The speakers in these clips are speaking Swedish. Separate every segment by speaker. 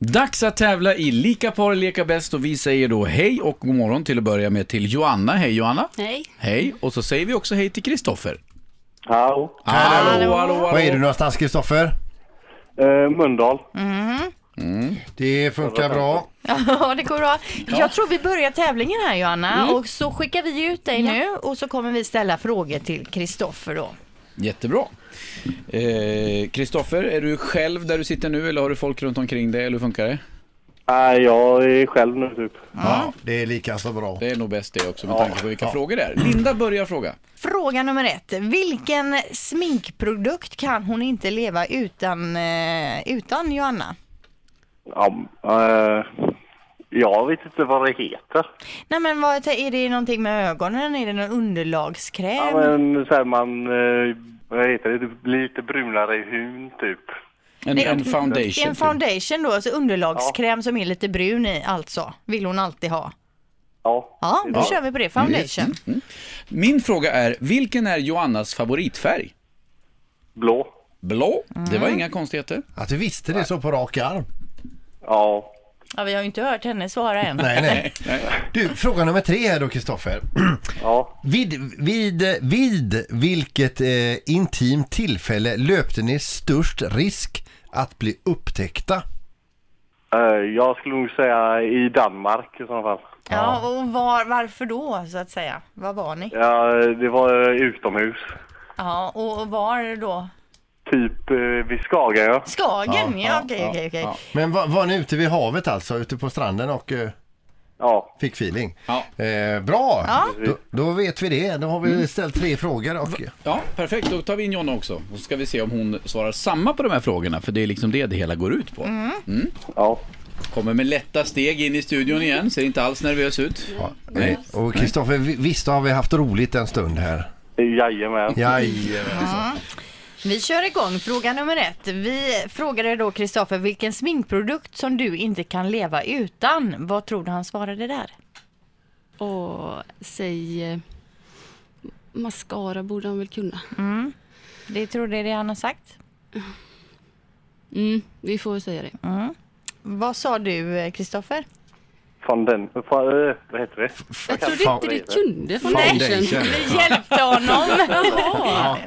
Speaker 1: Dags att tävla i Lika par leka bäst och vi säger då hej och god morgon till att börja med till Joanna. Hej Joanna!
Speaker 2: Nej.
Speaker 1: Hej! Och så säger vi också hej till Kristoffer.
Speaker 3: Hallå.
Speaker 1: Hallå, hallå, hallå!
Speaker 4: Var är du någonstans Kristoffer?
Speaker 3: Eh, Mölndal.
Speaker 4: Det funkar bra.
Speaker 5: Ja, Mm. det går bra. Jag tror vi börjar tävlingen här Johanna och så skickar vi ut dig nu och så kommer vi ställa frågor till Kristoffer då.
Speaker 1: Jättebra! Eh, Kristoffer, är du själv där du sitter nu eller har du folk runt omkring dig eller hur funkar det?
Speaker 3: Nej, jag är själv nu typ.
Speaker 4: Ja, det är lika så bra.
Speaker 1: Det är nog bäst det också med tanke på vilka frågor det är. Linda börjar fråga.
Speaker 5: Fråga nummer ett. Vilken sminkprodukt kan hon inte leva utan, eh, utan Johanna?
Speaker 3: Ja, eh, jag vet inte vad det heter.
Speaker 5: Nej men vad, är det någonting med ögonen? Är det någon underlagskräm?
Speaker 3: Ja, men så här man, eh, vad heter det, det, blir lite brunare i hyn typ.
Speaker 1: En, en foundation.
Speaker 5: En foundation då, alltså underlagskräm som är lite brun i alltså, vill hon alltid ha.
Speaker 3: Ja.
Speaker 5: Ja, då kör vi på det. Foundation.
Speaker 1: Min fråga är, vilken är Joannas favoritfärg?
Speaker 3: Blå.
Speaker 1: Blå. Det var inga konstigheter.
Speaker 4: Att du visste det så på rak arm.
Speaker 3: Ja.
Speaker 5: Ja, vi har ju inte hört henne svara än.
Speaker 4: Nej, nej. Du, fråga nummer tre här då Kristoffer.
Speaker 3: Ja.
Speaker 4: Vid, vid, vid vilket eh, intimt tillfälle löpte ni störst risk att bli upptäckta?
Speaker 3: Eh, jag skulle nog säga i Danmark i så fall.
Speaker 5: Ja, och var, varför då så att säga? Var var ni?
Speaker 3: Ja, det var eh, utomhus.
Speaker 5: Ja, och var då?
Speaker 3: Typ eh, vid Skagen ja.
Speaker 5: Skagen? Ja, okej, okej, okej.
Speaker 1: ja.
Speaker 4: Men var, var ni ute vid havet alltså, ute på stranden och eh,
Speaker 3: Ja.
Speaker 4: fick feeling?
Speaker 1: Ja.
Speaker 4: Eh, bra!
Speaker 5: Ja.
Speaker 4: Då, då vet vi det. Då har vi ställt tre frågor och...
Speaker 1: Ja, perfekt. Då tar vi in Jonna också. Och så ska vi se om hon svarar samma på de här frågorna, för det är liksom det det hela går ut på.
Speaker 3: Ja.
Speaker 1: Kommer med lätta steg in i studion igen, ser inte alls nervös ut. Nej.
Speaker 4: Och Kristoffer, vi- visst har vi haft roligt en stund här?
Speaker 3: Jajamän.
Speaker 4: Jajamän.
Speaker 5: Vi kör igång fråga nummer ett. Vi frågade då Kristoffer vilken sminkprodukt som du inte kan leva utan. Vad tror du han svarade där?
Speaker 2: Och säg... eh, Mascara borde han väl kunna.
Speaker 5: Det tror det är det han har sagt.
Speaker 2: Mm, vi får väl säga det.
Speaker 5: Vad sa
Speaker 2: eh,
Speaker 5: du Kristoffer?
Speaker 3: Från den, från, eh, vad heter det?
Speaker 2: Jag trodde inte du kunde foundation.
Speaker 5: Vi hjälpte honom.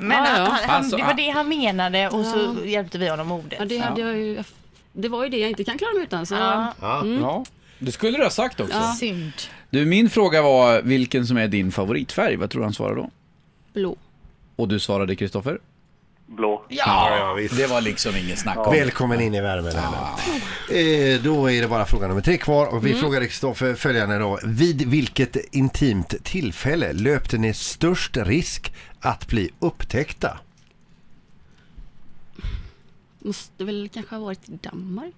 Speaker 5: Men
Speaker 2: Ja, ja.
Speaker 5: han, han,
Speaker 1: Alltså,
Speaker 5: det var det han menade och så hjälpte vi honom med
Speaker 2: Ja,
Speaker 5: ordet.
Speaker 2: det, hade jag ju, det var ju det jag inte kan klara mig utan. Så
Speaker 5: Ja.
Speaker 1: Ja. Det skulle du ha sagt också.
Speaker 5: Synd.
Speaker 1: Du, min fråga var vilken som är din favoritfärg. Vad tror du han svarar då?
Speaker 2: blå.
Speaker 1: Och du svarade Kristoffer?
Speaker 3: Blå.
Speaker 1: Ja, det var liksom ingen snack om.
Speaker 4: Välkommen in i värmen. Ja. Eh, då är det bara fråga nummer tre kvar och vi frågade Kristoffer följande då. Vid vilket intimt tillfälle löpte ni störst risk att bli upptäckta?
Speaker 2: Måste väl kanske ha varit i Danmark.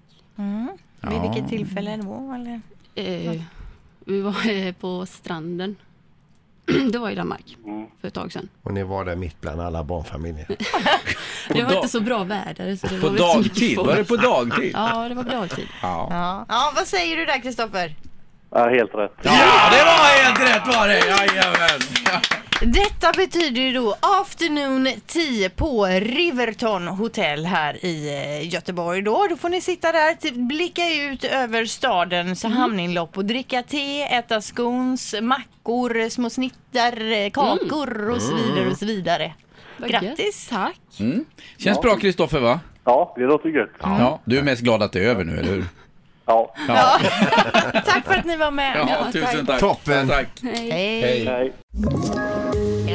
Speaker 5: Vid vilket tillfälle då? Eller?
Speaker 2: Eh, vi var eh, på stranden. det var i Danmark
Speaker 1: Mm.
Speaker 2: för ett tag sedan.
Speaker 4: Och ni var där mitt bland alla barnfamiljer.
Speaker 2: det var
Speaker 1: dag-
Speaker 2: inte så bra väder. Så det
Speaker 1: På
Speaker 2: var väl så mycket
Speaker 1: dagtid?
Speaker 2: folk.
Speaker 1: Var det på dagtid?
Speaker 2: Ja, det var på dagtid.
Speaker 1: Ja.
Speaker 5: Ja. ja, vad säger du där Kristoffer?
Speaker 3: Ja, helt rätt.
Speaker 1: ja, det var helt rätt var det! Jajamän!
Speaker 5: Detta betyder ju då afternoon 10 på Riverton Hotel här i eh, Göteborg. Då, då får ni sitta där, typ, blicka ut över stadens hamninlopp och dricka te, äta scones, mackor, små snittar, eh, kakor och så vidare och så vidare.
Speaker 2: Vad gött.
Speaker 5: Grattis!
Speaker 2: Tack.
Speaker 1: Känns bra Kristoffer va?
Speaker 3: Ja, det låter gött.
Speaker 1: Ja. Du är mest glad att det är över nu, eller hur?
Speaker 3: Ja.
Speaker 5: Tack för att ni var med!
Speaker 1: Ja, tusen tack.
Speaker 4: Toppen.
Speaker 1: Tack.
Speaker 5: Hej.
Speaker 3: Nej.